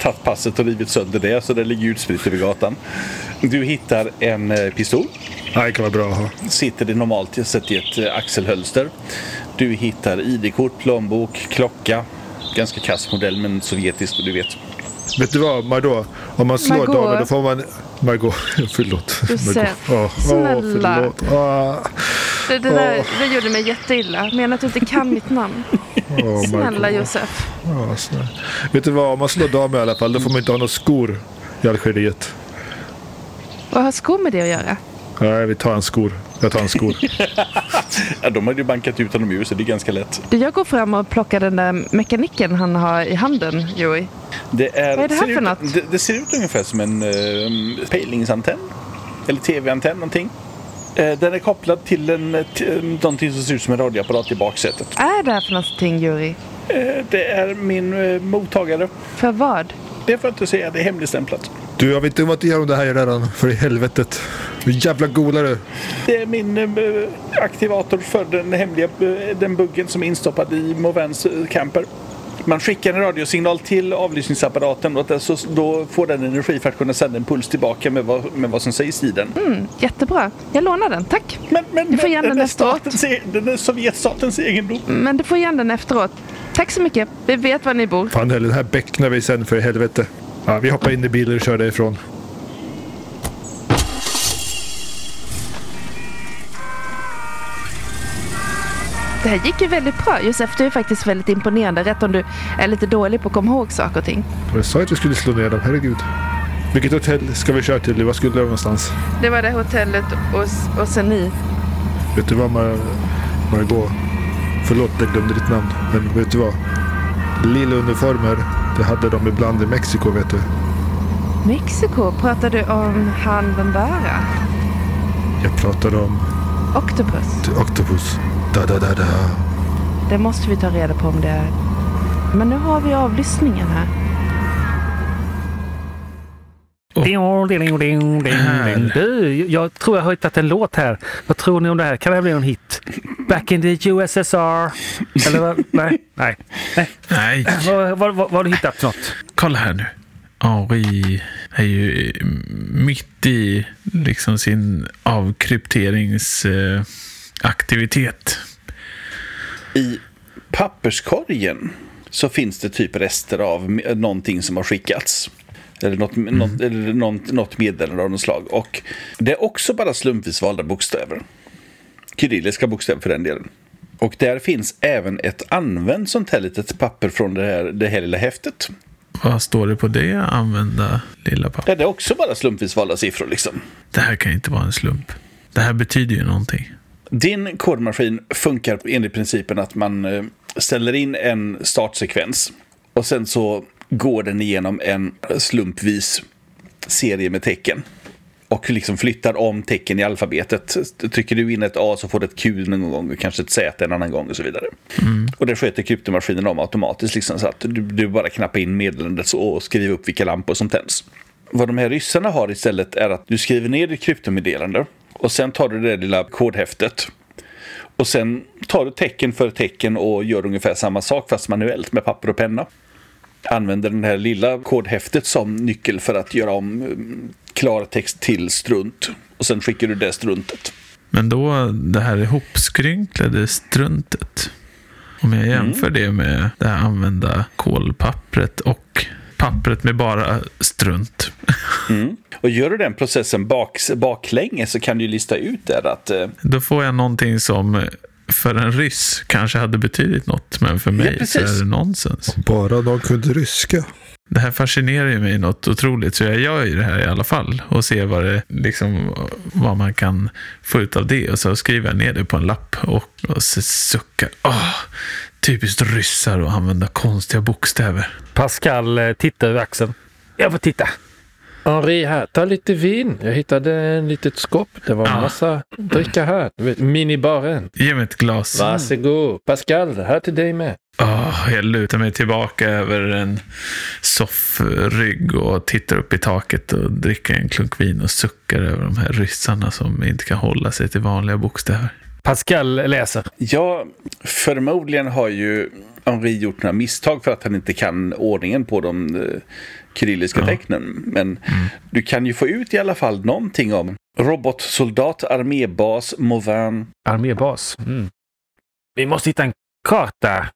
[SPEAKER 1] tagit passet och rivit sönder det, så det ligger utspritt över gatan. Du hittar en eh, pistol.
[SPEAKER 6] Nej, det kan vara bra att ha.
[SPEAKER 1] Sitter det normalt sett i ett eh, axelhölster. Du hittar ID-kort, plånbok, klocka. Ganska kass modell, men sovjetisk, och du vet.
[SPEAKER 6] Vet du vad, Margot? Om man slår
[SPEAKER 5] Margot.
[SPEAKER 6] damer då får man... Margot, förlåt.
[SPEAKER 5] Josef,
[SPEAKER 6] Åh, åh,
[SPEAKER 5] snälla.
[SPEAKER 6] förlåt. Åh,
[SPEAKER 5] Det, det, där, det gjorde mig jätteilla. Menar att du inte kan mitt namn?
[SPEAKER 6] åh,
[SPEAKER 5] Snälla
[SPEAKER 6] Margot.
[SPEAKER 5] Josef.
[SPEAKER 6] Ja, snälla. Vet du vad, om man slår damer i alla fall då får man inte ha några skor i Algeriet.
[SPEAKER 5] Vad har skor med det att göra?
[SPEAKER 6] Nej, vi tar hans skor. Jag tar hans skor.
[SPEAKER 1] Ja, de hade ju bankat ut honom ur, så det är ganska lätt.
[SPEAKER 5] Du, jag går fram och plockar den där mekaniken han har i handen, Joey.
[SPEAKER 1] Det är,
[SPEAKER 5] Vad är det här
[SPEAKER 1] ser
[SPEAKER 5] för
[SPEAKER 1] ut,
[SPEAKER 5] något?
[SPEAKER 1] Det, det ser ut ungefär som en eh, pejlingsantenn. Eller tv-antenn, någonting. Eh, den är kopplad till en, eh, t- eh, någonting som ser ut som en radioapparat i baksätet.
[SPEAKER 5] Är det här för någonting, Joey?
[SPEAKER 1] Eh, det är min eh, mottagare.
[SPEAKER 5] För vad?
[SPEAKER 1] Det får jag inte säga, det är hemligstämplat.
[SPEAKER 6] Du, jag vet inte vad du gör om det här gör redan. För i helvetet. Hur jävla god är du?
[SPEAKER 1] Det är min eh, aktivator för den hemliga eh, den buggen som är instoppad i Movens eh, camper. Man skickar en radiosignal till avlyssningsapparaten och att alltså, då får den energi för att kunna sända en puls tillbaka med vad, med vad som sägs i den.
[SPEAKER 5] Jättebra. Jag lånar den, tack.
[SPEAKER 1] Men, men,
[SPEAKER 5] Du får
[SPEAKER 1] men,
[SPEAKER 5] gärna
[SPEAKER 1] den, är
[SPEAKER 5] nästa år.
[SPEAKER 1] statens, e- den är Sovjetstatens egendom.
[SPEAKER 5] Men du får igen den efteråt. Tack så mycket. Vi vet var ni bor.
[SPEAKER 6] Fan heller, den här bäcknar vi sen för i helvete. Ja, vi hoppar in i bilen och kör därifrån.
[SPEAKER 5] Det här gick ju väldigt bra. Josef, du är faktiskt väldigt imponerande. Rätt om du är lite dålig på att komma ihåg saker och ting.
[SPEAKER 6] Jag sa att vi skulle slå ner dem, herregud. Vilket hotell ska vi köra till? Vad skulle vi någonstans?
[SPEAKER 5] Det var det hotellet och, och sen ni.
[SPEAKER 6] Vet du vad Mar- Margot? Förlåt, jag glömde ditt namn. Men vet du vad? Lila uniformer, det hade de ibland i Mexiko vet du.
[SPEAKER 5] Mexiko, pratar du om han Bambara?
[SPEAKER 6] Jag pratar om
[SPEAKER 5] Octopus?
[SPEAKER 6] Octopus. Da, da, da, da.
[SPEAKER 5] Det måste vi ta reda på om det är. Men nu har vi avlyssningen här.
[SPEAKER 2] Du, jag tror jag har hittat en låt här. Vad tror ni om det här? Kan det här bli någon hit? Back in the USSR? Eller vad? Nej. Nej. Nej.
[SPEAKER 3] Nej,
[SPEAKER 2] Vad, vad, vad, vad har du hittat för något?
[SPEAKER 3] kolla här nu. Henri är ju eh, mitt i liksom sin avkrypteringsaktivitet.
[SPEAKER 1] I papperskorgen så finns det typ rester av m- någonting som har skickats. Eller något, något, eller något, något meddelande av något slag. Och det är också bara slumpvis valda bokstäver. Kyrilliska bokstäver för den delen. Och där finns även ett använt sånt här litet papper från det här, det här lilla häftet.
[SPEAKER 3] Vad står det på det? Använda lilla papper.
[SPEAKER 1] Där det är också bara slumpvis valda siffror liksom.
[SPEAKER 3] Det här kan ju inte vara en slump. Det här betyder ju någonting.
[SPEAKER 1] Din kodmaskin funkar enligt principen att man eh, ställer in en startsekvens och sen så går den igenom en slumpvis serie med tecken och liksom flyttar om tecken i alfabetet. Trycker du in ett A så får du ett Q någon gång och kanske ett Z en annan gång och så vidare. Och det sköter kryptomaskinen om automatiskt liksom så att du, du bara knappar in meddelandet så- och skriver upp vilka lampor som tänds. Vad de här ryssarna har istället är att du skriver ner ditt kryptomeddelande och sen tar du det där lilla kodhäftet och sen tar du tecken för tecken och gör ungefär samma sak fast manuellt med papper och penna använder den här lilla kodhäftet som nyckel för att göra om mm, klartext till strunt. Och sen skickar du det struntet.
[SPEAKER 3] Men då det här ihopskrynklade struntet. Om jag jämför det med det här använda kolpappret och pappret med bara strunt.
[SPEAKER 1] Och gör du den processen bak, baklänges så kan du ju lista ut där att eh,
[SPEAKER 3] Då får jag någonting som för en ryss kanske hade betydit något. Men för mig så
[SPEAKER 1] precis.
[SPEAKER 3] är det nonsens.
[SPEAKER 6] Bara de kunde ryska.
[SPEAKER 3] Det här fascinerar ju mig något otroligt. Så jag gör ju det här i alla fall. Och ser vad, det, liksom, vad man kan få ut av det. Och så skriver jag ner det på en lapp. Och, och så suckar. Åh, typiskt ryssar att använda konstiga bokstäver.
[SPEAKER 2] Pascal eh, tittar över axeln. Jag får titta.
[SPEAKER 4] Henri här, ta lite vin. Jag hittade en litet skåp. Det var en
[SPEAKER 3] Ja.
[SPEAKER 4] massa dricka här. Du vet, Minibaren.
[SPEAKER 3] Ge mig ett glas.
[SPEAKER 4] Varsågod. Pascal, här till dig med.
[SPEAKER 3] Åh, jag lutar mig tillbaka över en soffrygg och tittar upp i taket och dricker en klunk vin och suckar över de här ryssarna som inte kan hålla sig till vanliga bokstäver.
[SPEAKER 2] Pascal läser.
[SPEAKER 1] Ja, förmodligen har ju Henri gjort några misstag för att han inte kan ordningen på de eh, kyrilliska tecknen. Men du kan ju få ut i alla fall någonting om robotsoldat, armébas, Mauvin.
[SPEAKER 2] Armébas. Mm. Vi måste hitta en karta.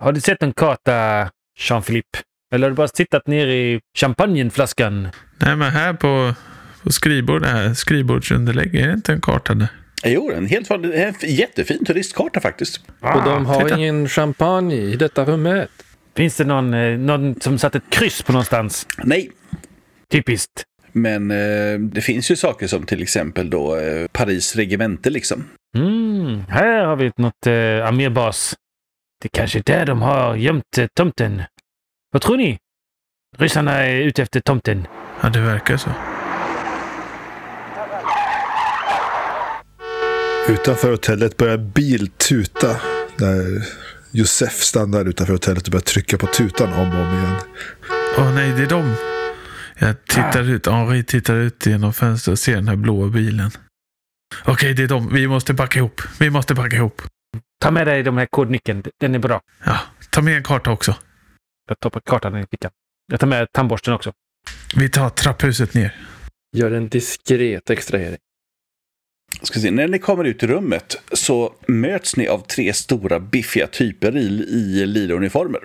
[SPEAKER 2] Har du sett en karta, Jean-Philippe? Eller har du bara tittat ner i champagneflaskan?
[SPEAKER 3] Nej, men här på, på skrivbordet, här, skrivbordsunderlägg, är det inte en karta där?
[SPEAKER 1] Jo, en helt vanlig, en f- jättefin turistkarta faktiskt.
[SPEAKER 4] Och de har
[SPEAKER 3] Ah, titta.
[SPEAKER 4] ingen champagne i detta rummet.
[SPEAKER 2] Finns det någon, eh, någon som satt ett kryss på någonstans?
[SPEAKER 1] Nej,
[SPEAKER 2] Typiskt.
[SPEAKER 1] men eh, det finns ju saker som till exempel då eh, Paris regemente liksom.
[SPEAKER 2] Mm, här har vi något eh, armébas. Det är kanske är där de har gömt eh, tomten. Vad tror ni? Ryssarna är ute efter tomten.
[SPEAKER 3] Ja, det verkar så.
[SPEAKER 6] Utanför hotellet börjar en bil tuta. När Josef stannar utanför hotellet och börjar trycka på tutan om och om igen.
[SPEAKER 3] Åh nej, det är dem. Jag tittar ut, Henri tittar ut genom fönstret och ser den här blåa bilen. Okej, det är dem. Vi måste backa ihop. Vi måste backa ihop.
[SPEAKER 2] Ta med dig de här kodnyckeln. Den är bra.
[SPEAKER 3] Ja, ta med en karta också.
[SPEAKER 2] Jag toppar kartan i fickan. Jag tar med tandborsten också.
[SPEAKER 3] Vi tar trapphuset ner.
[SPEAKER 4] Gör en diskret extrahering.
[SPEAKER 1] Ska se, när ni kommer ut i rummet så möts ni av tre stora biffiga typer i, i lila uniformer.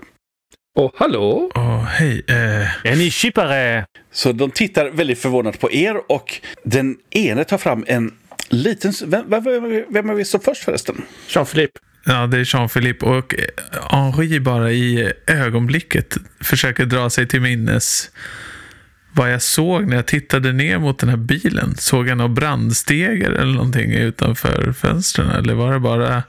[SPEAKER 4] Och hallå!
[SPEAKER 3] Åh, hej. Eh,
[SPEAKER 2] Är ni kypare?
[SPEAKER 1] Så de tittar väldigt förvånat på er och den ene tar fram en liten... Vem, vem, vem, vem är vi som först förresten?
[SPEAKER 4] Jean-Philippe.
[SPEAKER 3] ja, det är Jean-Philippe och eh, Henri bara i ögonblicket försöker dra sig till minnes vad jag såg när jag tittade ner mot den här bilen. Såg jag några brandstegar eller någonting utanför fönstren? Eller var det bara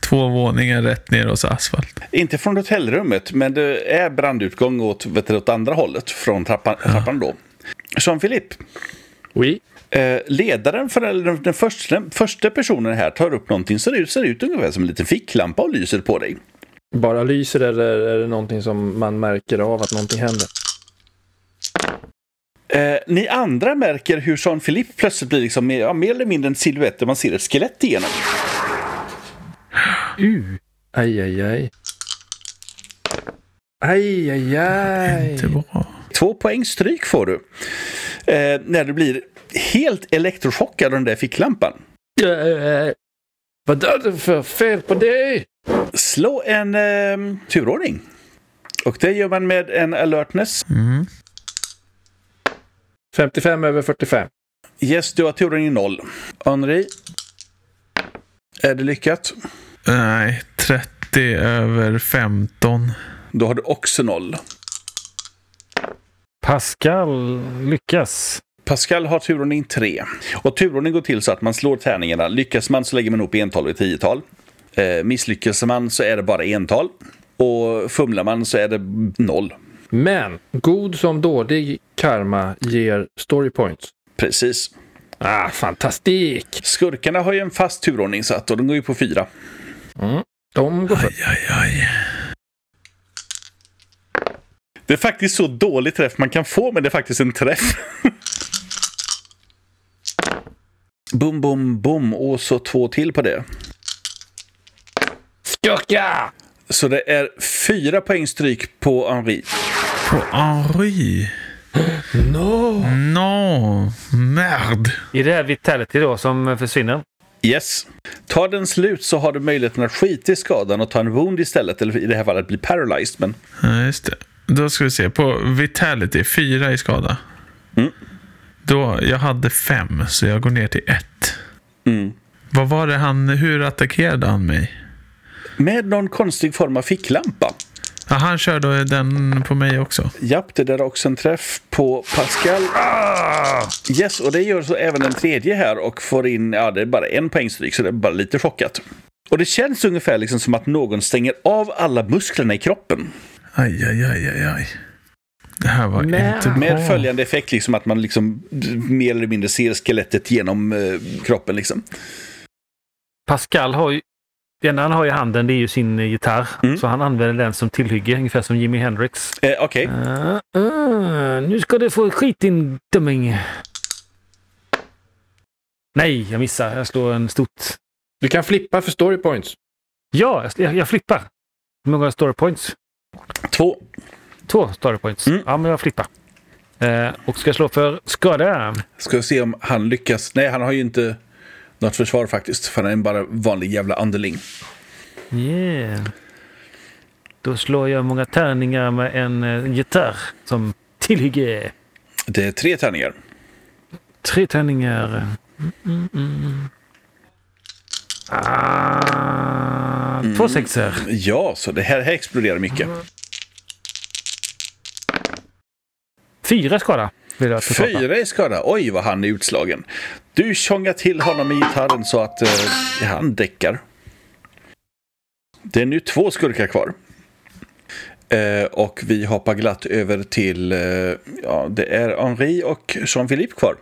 [SPEAKER 3] två våningar rätt ner hos asfalt?
[SPEAKER 1] Inte från hotellrummet, men det är brandutgång åt, vet du, åt andra hållet från trappan, trappan då. Jean-Philippe,
[SPEAKER 4] Oui.
[SPEAKER 1] eh, ledaren för eller den, den första, den första personen här tar upp någonting så det ser ut ungefär som en liten ficklampa och lyser på dig.
[SPEAKER 4] Bara lyser eller är det någonting som man märker av att någonting händer?
[SPEAKER 1] Eh, ni andra märker hur Jean-Philippe plötsligt blir liksom, mer- ja, mer eller mindre en silhuett där man ser ett skelett igenom.
[SPEAKER 2] Uh.
[SPEAKER 4] Aj, aj, aj. Aj, aj, aj.
[SPEAKER 3] Inte bra.
[SPEAKER 1] Två poäng stryk får du. Eh, när du blir helt elektrochockad av den där ficklampan.
[SPEAKER 4] Äh, Vad är det för fel på dig?
[SPEAKER 1] Slå en eh, turordning. Och det gör man med en alertness.
[SPEAKER 3] Mm.
[SPEAKER 4] 55 över 45.
[SPEAKER 1] Yes, du har turordning 0. Henri. Är det lyckat?
[SPEAKER 3] Nej, 30 över 15.
[SPEAKER 1] Då har du också 0.
[SPEAKER 2] Pascal lyckas.
[SPEAKER 1] Pascal har turordning 3. Och turordning går till så att man slår tärningarna. Lyckas man så lägger man ihop ental och tiotal. Eh, misslyckas man så är det bara ental. Och fumlar man så är det noll.
[SPEAKER 4] Men god som dålig karma ger story points.
[SPEAKER 1] Precis.
[SPEAKER 4] Ah, fantastik!
[SPEAKER 1] Skurkarna har ju en fast turordning satt och de går ju på fyra.
[SPEAKER 4] De går för.
[SPEAKER 3] Aj, aj, aj.
[SPEAKER 1] Det är faktiskt så dålig träff man kan få, men det är faktiskt en träff. Bum, bum, bum och så två till på det.
[SPEAKER 4] Skurka!
[SPEAKER 1] Så det är fyra poäng stryk på Henri.
[SPEAKER 3] På Henri.
[SPEAKER 4] No!
[SPEAKER 3] No. Merd.
[SPEAKER 2] Är det här Vitality då som försvinner?
[SPEAKER 1] Yes. Tar den slut så har du möjligheten att skita i skadan och ta en wound istället, eller i det här fallet bli paralyzed. Men
[SPEAKER 3] Ja, just det. Då ska vi se. På Vitality, 4 i skada.
[SPEAKER 1] Mm.
[SPEAKER 3] Då, jag hade 5, så jag går ner till 1.
[SPEAKER 1] Mm.
[SPEAKER 3] Vad var det han, hur attackerade han mig?
[SPEAKER 1] med någon konstig form av ficklampa.
[SPEAKER 3] Ja, han körde den på mig också.
[SPEAKER 1] Japp, det där är också en träff på Pascal. Yes, och det gör så även den tredje här och får in, ja det är bara en poängstryk så det är bara lite chockat. Och det känns ungefär liksom som att någon stänger av alla musklerna i kroppen.
[SPEAKER 3] Aj, aj, aj, aj, aj. Det här var
[SPEAKER 2] Nej.
[SPEAKER 3] inte bra.
[SPEAKER 1] Med följande effekt liksom att man liksom mer eller mindre ser skelettet genom eh, kroppen liksom.
[SPEAKER 2] Pascal har ju... Det enda han har i handen det är ju sin eh, gitarr.
[SPEAKER 1] Mm.
[SPEAKER 2] Så han använder den som tillhygge, ungefär som Jimi Hendrix.
[SPEAKER 1] Eh, Okej,
[SPEAKER 2] Ah, ah, nu ska du få skit din dumming. Nej, jag missar. Jag slår en stort.
[SPEAKER 4] Du kan flippa för story points.
[SPEAKER 2] Ja, jag, jag flippar. Hur många story points?
[SPEAKER 1] Två.
[SPEAKER 2] Två story points.
[SPEAKER 1] Mm.
[SPEAKER 2] Ja, men jag flippar. Eh, och ska slå för skada.
[SPEAKER 1] Ska vi se om han lyckas. Nej, han har ju inte något försvar faktiskt. För han är bara en vanlig jävla underling.
[SPEAKER 2] Yeah. Då slår jag många tärningar med en eh, gitarr som tillhygge.
[SPEAKER 1] Det är tre tärningar.
[SPEAKER 2] Tre tärningar. Mm, mm, mm. Ah, Två sexer.
[SPEAKER 1] Ja, så det här, här exploderar mycket.
[SPEAKER 2] Fyra skada. Vill jag totalt.
[SPEAKER 1] Fyra i skada. Oj, vad han är utslagen. Du tjongar till honom med gitarren så att eh, han däckar. Det är nu två skurkar kvar. Eh, och vi hoppar glatt över till, eh, ja, det är Henri och Jean-Philippe kvar.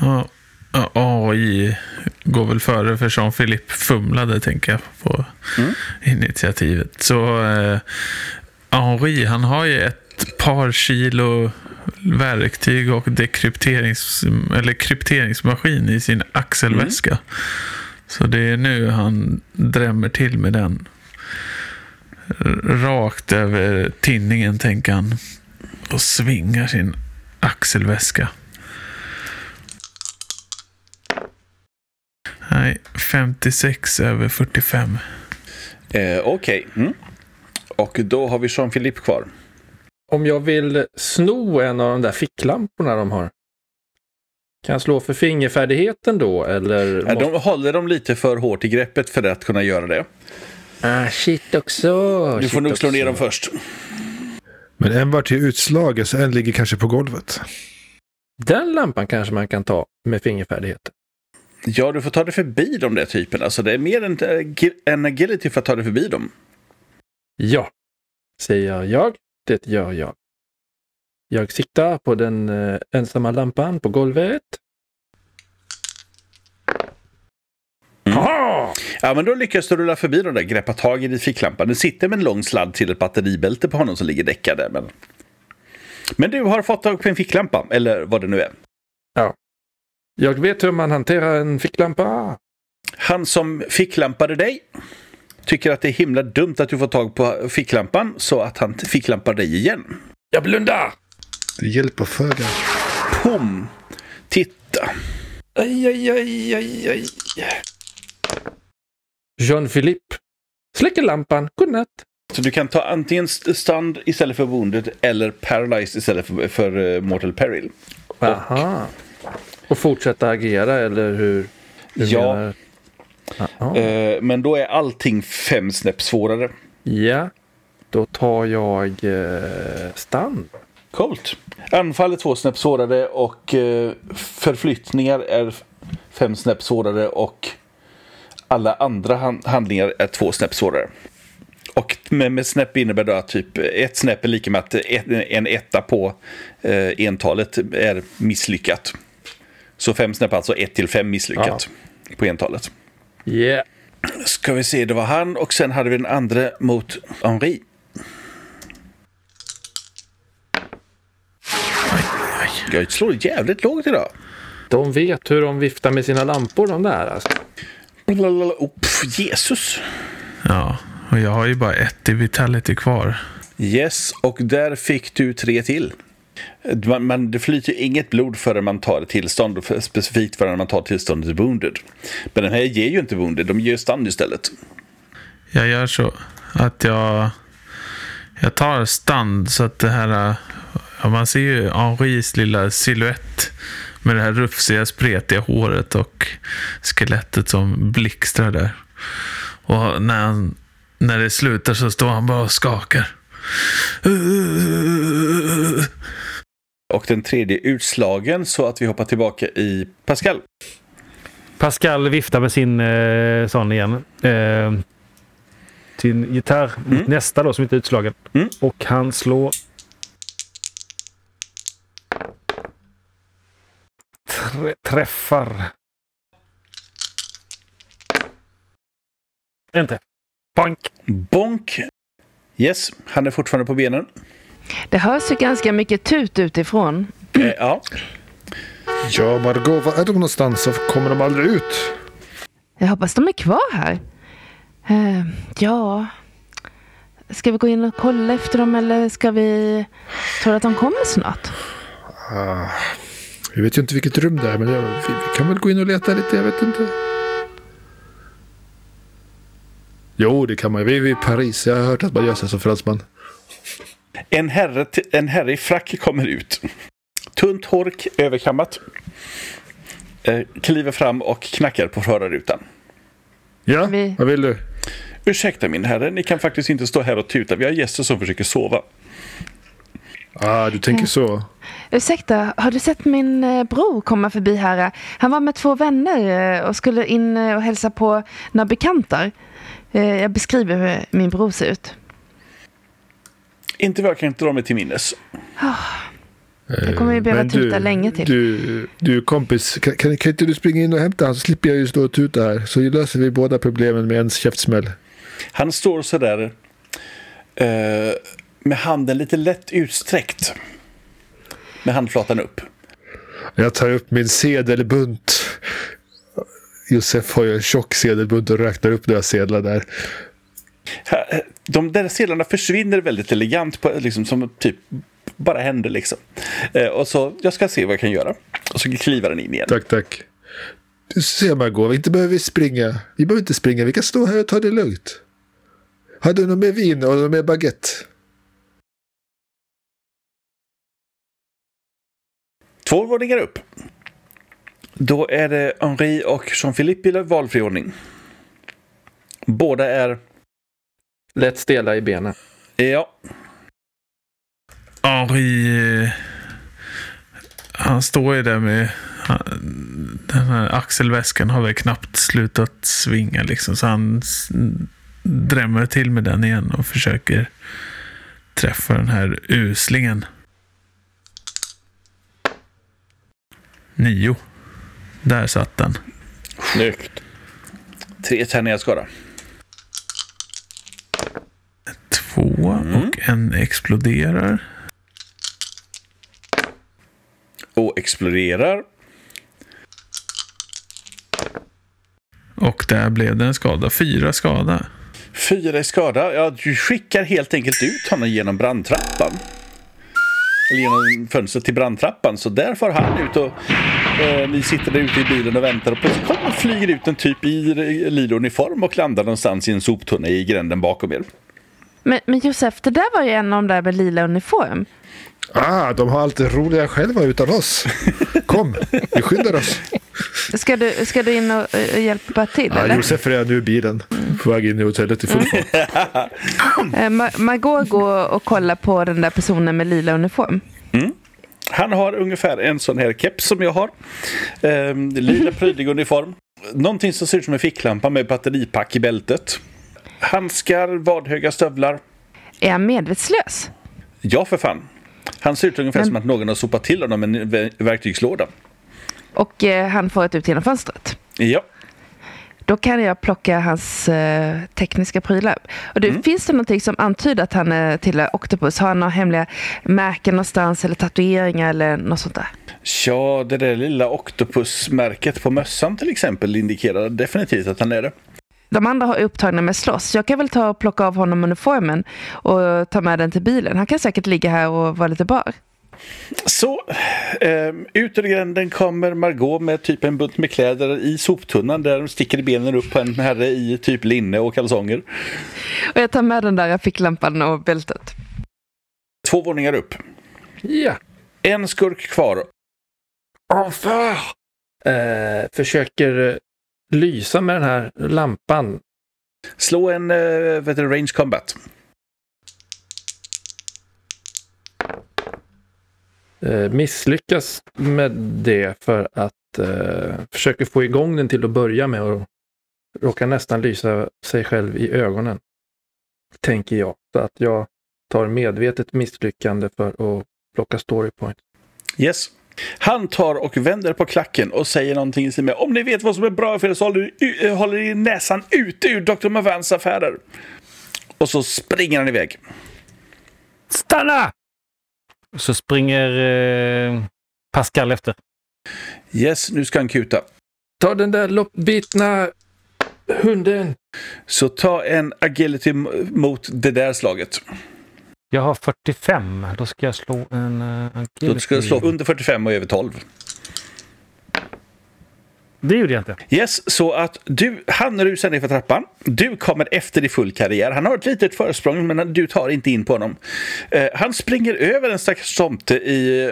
[SPEAKER 3] Ja, ja, AI går väl före för Jean Philippe fumlade tänker jag på initiativet. Så eh, Henri han har ju ett par kilo verktyg och dekrypterings, eller krypteringsmaskin i sin axelväska. Så det är nu han drämmer till med den. R- Rakt över tinningen tänker han. Och svingar sin axelväska. Nej, 56 över 45.
[SPEAKER 1] Eh, Okej. Mm. Och då har vi Jean-Philippe kvar.
[SPEAKER 4] Om jag vill sno en av de där ficklamporna de har. Kan jag slå för fingerfärdigheten då eller?
[SPEAKER 1] Eh, De håller dem lite för hårt i greppet för att kunna göra det.
[SPEAKER 4] Ah, shit också.
[SPEAKER 1] Du får nog slå ner dem först.
[SPEAKER 6] Men en vart ju utslagen så en ligger kanske på golvet.
[SPEAKER 4] Den lampan kanske man kan ta med fingerfärdigheten.
[SPEAKER 1] Ja, du får ta dig förbi de där typerna. Alltså, det är mer en, en agility för att ta dig förbi dem.
[SPEAKER 4] Ja, säger jag. Det gör jag. Jag siktar på den eh, ensamma lampan på golvet.
[SPEAKER 1] Ja, men då lyckas du rulla förbi de där, greppa tag i din ficklampa. Den sitter med en lång sladd till ett batteribälte på honom som ligger däckad där. Men... men du har fått tag på en ficklampa, eller vad det nu är.
[SPEAKER 4] Jag vet hur man hanterar en ficklampa.
[SPEAKER 1] Han som ficklampade dig tycker att det är himla dumt att du får tag på ficklampan så att han ficklampar dig igen.
[SPEAKER 4] Jag blundar!
[SPEAKER 6] Det hjälper föga.
[SPEAKER 1] Pum! Titta!
[SPEAKER 4] Aj, aj, aj, aj, aj. Jean-Philippe. Släcker lampan. Godnatt.
[SPEAKER 1] Så du kan ta antingen st- stand istället för wounded eller paralyzed istället för, för eh, mortal peril.
[SPEAKER 4] Aha. Och fortsätta agera, eller hur? hur
[SPEAKER 1] Ja.
[SPEAKER 4] menar- Aha.
[SPEAKER 1] Eh, men då är allting fem snäpp svårare.
[SPEAKER 4] Ja. Då tar jag eh, stand.
[SPEAKER 1] Coolt. Anfall är två snäpp svårare och eh, förflyttningar är fem snäpp svårare och alla andra han- handlingar är två snäpp svårare. Och med, med snäpp innebär då att typ ett snäpp är lika med att ett, en etta på eh, entalet är misslyckat. Så fem snäpp är alltså ett till fem misslyckat på entalet.
[SPEAKER 4] Yeah.
[SPEAKER 1] Ska vi se, det var han och sen hade vi den andra mot Henri. Jag slår jävligt lågt idag.
[SPEAKER 4] De vet hur de viftar med sina lampor, de där. Alltså.
[SPEAKER 1] Blablabla. Oh, pff, Jesus!
[SPEAKER 3] Ja, och jag har ju bara ett i vitality kvar.
[SPEAKER 1] Yes, och där fick du tre till. Man, man, det flyter ju inget blod förrän man tar ett tillstånd, och för- specifikt förrän man tar tillståndet wounded. Men den här ger ju inte wounded, de ger ju stun istället.
[SPEAKER 3] Jag gör så att jag, jag tar stand så att det här... Ja, man ser ju Henris lilla silhuett med det här rufsiga, spretiga håret och skelettet som blixtrar där. Och när, han, när det slutar så står han bara och skakar.
[SPEAKER 1] Och den tredje utslagen, så att vi hoppar tillbaka i Pascal.
[SPEAKER 2] Pascal viftar med sin eh, sån igen. Eh, sin gitarr. mot Nästa då som inte är utslagen.
[SPEAKER 1] Mm.
[SPEAKER 2] Och han slår... Trä- träffar. Inte. Bank.
[SPEAKER 1] Bonk. Yes, han är fortfarande på benen.
[SPEAKER 5] Det hörs ju ganska mycket tut utifrån.
[SPEAKER 1] Eh, ja.
[SPEAKER 6] Ja, Margot, var är de någonstans? Varför kommer de aldrig ut?
[SPEAKER 5] Jag hoppas de är kvar här. Eh, ja. Ska vi gå in och kolla efter dem eller ska vi... Tror du att de kommer snart?
[SPEAKER 6] Ah, vi vet ju inte vilket rum det är, men jag, vi, vi kan väl gå in och leta lite. Jag vet inte. Jo, det kan man ju. Vi är ju i Paris. Jag har hört att man gör så som fransman.
[SPEAKER 1] En herre, t- en herre i frack kommer ut. Tunt hork, överkammat. Eh, kliver fram och knackar på förarrutan.
[SPEAKER 6] Ja,
[SPEAKER 5] Vi-
[SPEAKER 6] vad vill du?
[SPEAKER 1] Ursäkta min herre, ni kan faktiskt inte stå här och tuta. Vi har gäster som försöker sova.
[SPEAKER 6] Ah, du tänker så.
[SPEAKER 5] Ursäkta, har du sett min eh, bror komma förbi här? eh? Han var med två vänner eh, och skulle in eh, och hälsa på några bekantar. Eh, Jag beskriver hur min bror ser ut.
[SPEAKER 1] Inte vad jag kan dra mig till minnes.
[SPEAKER 5] Ah. Jag kommer ju behöva
[SPEAKER 6] Eh, Men
[SPEAKER 5] tuta länge till.
[SPEAKER 6] Du, du kompis, kan, kan, kan inte du springa in och hämta han så slipper jag ju stå och tuta här. Så löser vi båda problemen med en käftsmäll.
[SPEAKER 1] Han står sådär eh, med handen lite lätt utsträckt. Med handflatan upp.
[SPEAKER 6] Jag tar upp min sedelbunt. Josef har ju en tjock sedelbunt och räknar upp några sedlar där.
[SPEAKER 1] Här- De där sedlarna försvinner väldigt elegant, på, liksom, som typ bara händer liksom. Eh, och så, jag ska se vad jag kan göra. Och så kliver han in igen.
[SPEAKER 6] Tack, tack. Du ser Margot, inte behöver vi springa. Vi behöver inte springa, vi kan stå här och ta det lugnt. Har du något mer vin och något mer baguette?
[SPEAKER 1] Två våningar upp. Då är det Henri och Jean-Philippe i valfri ordning. Båda är...
[SPEAKER 4] Lätt stela i benen.
[SPEAKER 1] Ja,
[SPEAKER 3] Henri... eh, Han står ju där med... han- Den här axelväskan har väl knappt slutat svinga liksom. Så han s- drämmer till med den igen och försöker träffa den här uslingen. Nio. Där satt den.
[SPEAKER 4] Snyggt.
[SPEAKER 1] tre tärningar skada.
[SPEAKER 3] Två och en exploderar.
[SPEAKER 1] Och exploderar.
[SPEAKER 3] Och där blev det en skada. Fyra skada.
[SPEAKER 1] Fyra i skada. Ja, du skickar helt enkelt ut honom genom brandtrappan. Eller genom fönstret till brandtrappan. Så där får han ut och eh, ni sitter där ute i bilen och väntar. Och plötsligt kommer och flyger ut en typ i lila uniform och landar någonstans i en soptunna i gränden bakom er.
[SPEAKER 5] Men, men Josef, det där var ju en av de där med lila uniform.
[SPEAKER 6] Ah, de har alltid roliga själva utan oss. Kom, vi skyndar oss.
[SPEAKER 5] Ska du, ska du in och, eh, hjälpa till
[SPEAKER 6] Ah,
[SPEAKER 5] eller?
[SPEAKER 6] Josef är redan nu i bilen. Mm. På väg in i hotellet i full
[SPEAKER 1] Mm.
[SPEAKER 6] fart.
[SPEAKER 5] Eh, Ma- Margot går och kollar på den där personen med lila uniform.
[SPEAKER 1] Han har ungefär en sån här keps som jag har. Ehm, lila prydlig uniform. Någonting som ser ut som en ficklampa med batteripack i bältet. Handskar, vadhöga stövlar.
[SPEAKER 5] Är han medvetslös?
[SPEAKER 1] Ja, för fan. Han ser ut ungefär
[SPEAKER 5] Men-
[SPEAKER 1] som att någon har sopat till honom med en ver- verktygslåda.
[SPEAKER 5] Och eh, han får ett ut genom fönstret.
[SPEAKER 1] Ja.
[SPEAKER 5] Då kan jag plocka hans eh, tekniska prylar. Och du, Finns det någonting som antyder att han är till Octopus? Har han några hemliga märken någonstans eller tatueringar eller något sånt där?
[SPEAKER 1] ja, det där lilla oktopusmärket på mössan till exempel indikerar definitivt att han är det.
[SPEAKER 5] De andra har upptagna med slåss. Jag kan väl ta och plocka av honom uniformen och ta med den till bilen. Han kan säkert ligga här och vara lite bar.
[SPEAKER 1] Så, ehm, ut ur gränden kommer Margot med typ en bunt med kläder i soptunnan där de sticker benen upp på en herre i typ linne och kalsonger.
[SPEAKER 5] Och jag tar med den där ficklampan och bältet.
[SPEAKER 1] Två våningar upp.
[SPEAKER 4] Ja.
[SPEAKER 1] En skurk kvar.
[SPEAKER 4] Enfin! Eh, försöker eh, lysa med den här lampan.
[SPEAKER 1] Slå en eh, vad heter det, range combat.
[SPEAKER 4] Eh, misslyckas med det för att eh, försöker få igång den till att börja med och råkar nästan lysa sig själv i ögonen. Tänker jag. Så att jag tar medvetet misslyckande för att plocka story point.
[SPEAKER 1] Yes. Han tar och vänder på klacken och säger någonting i stil med Om ni vet vad som är bra för er så håller, u- eh, håller ni näsan ute ur Dr. Mavans affärer. Och så springer han iväg.
[SPEAKER 2] Stanna! Så springer eh, Pascal efter.
[SPEAKER 1] Yes, nu ska han kuta.
[SPEAKER 4] Ta den där loppbitna Hunden!
[SPEAKER 1] Så ta en agility m- mot det där slaget.
[SPEAKER 2] Jag har 45. Då ska jag slå en eh, agility.
[SPEAKER 1] Då ska du slå under 45 och över 12.
[SPEAKER 2] Det gjorde jag inte.
[SPEAKER 1] Yes, så att du, han rusar ner för trappan. Du kommer efter i full karriär. Han har ett litet försprång, men du tar inte in på honom. Eh, han springer över en stackars tomte i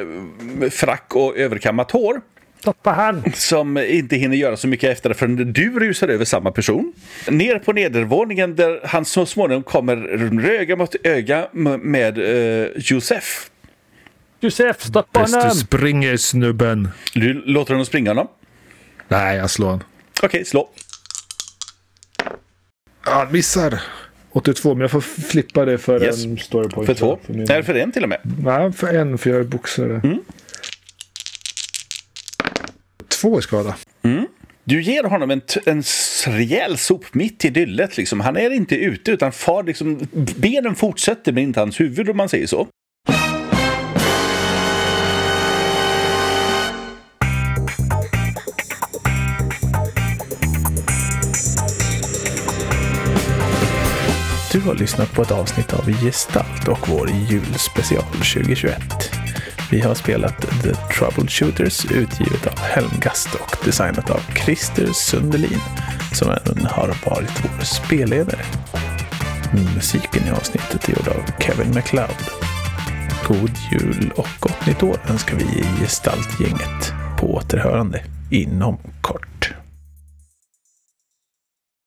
[SPEAKER 1] eh, frack och överkammat hår.
[SPEAKER 2] Stoppa han!
[SPEAKER 1] som inte hinner göra så mycket efter det förrän du rusar över samma person. Ner på nedervåningen där han så småningom kommer öga mot öga m- med eh, Josef.
[SPEAKER 2] Josef, stoppa
[SPEAKER 7] Bäst
[SPEAKER 2] honom!
[SPEAKER 7] du springer snubben.
[SPEAKER 1] Du låter honom springa honom.
[SPEAKER 6] Nej, jag slår han.
[SPEAKER 1] Okej, slå.
[SPEAKER 6] Ja, Han missar. 82, men jag får flippa det för
[SPEAKER 1] Yes.
[SPEAKER 6] en story point.
[SPEAKER 1] För två.
[SPEAKER 6] För min...
[SPEAKER 1] Nej, för Mm. en till och med.
[SPEAKER 6] Nej, för en, för jag är boxare. Två i skada.
[SPEAKER 1] Du ger honom en, t- en s- rejäl sop mitt i dyllet. Liksom. Han är inte ute, utan far liksom, benen fortsätter, men inte hans huvud om man säger så.
[SPEAKER 3] Du har lyssnat på ett avsnitt av Gestalt och vår julspecial 2021. Vi har spelat The Troubleshooters utgivet av Helmgast och designat av Christer Sundelin som även har varit vår spelledare. Musiken i avsnittet är gjord av Kevin MacLeod. God jul och gott nytt år önskar vi i Gestaltgänget på återhörande inom kort.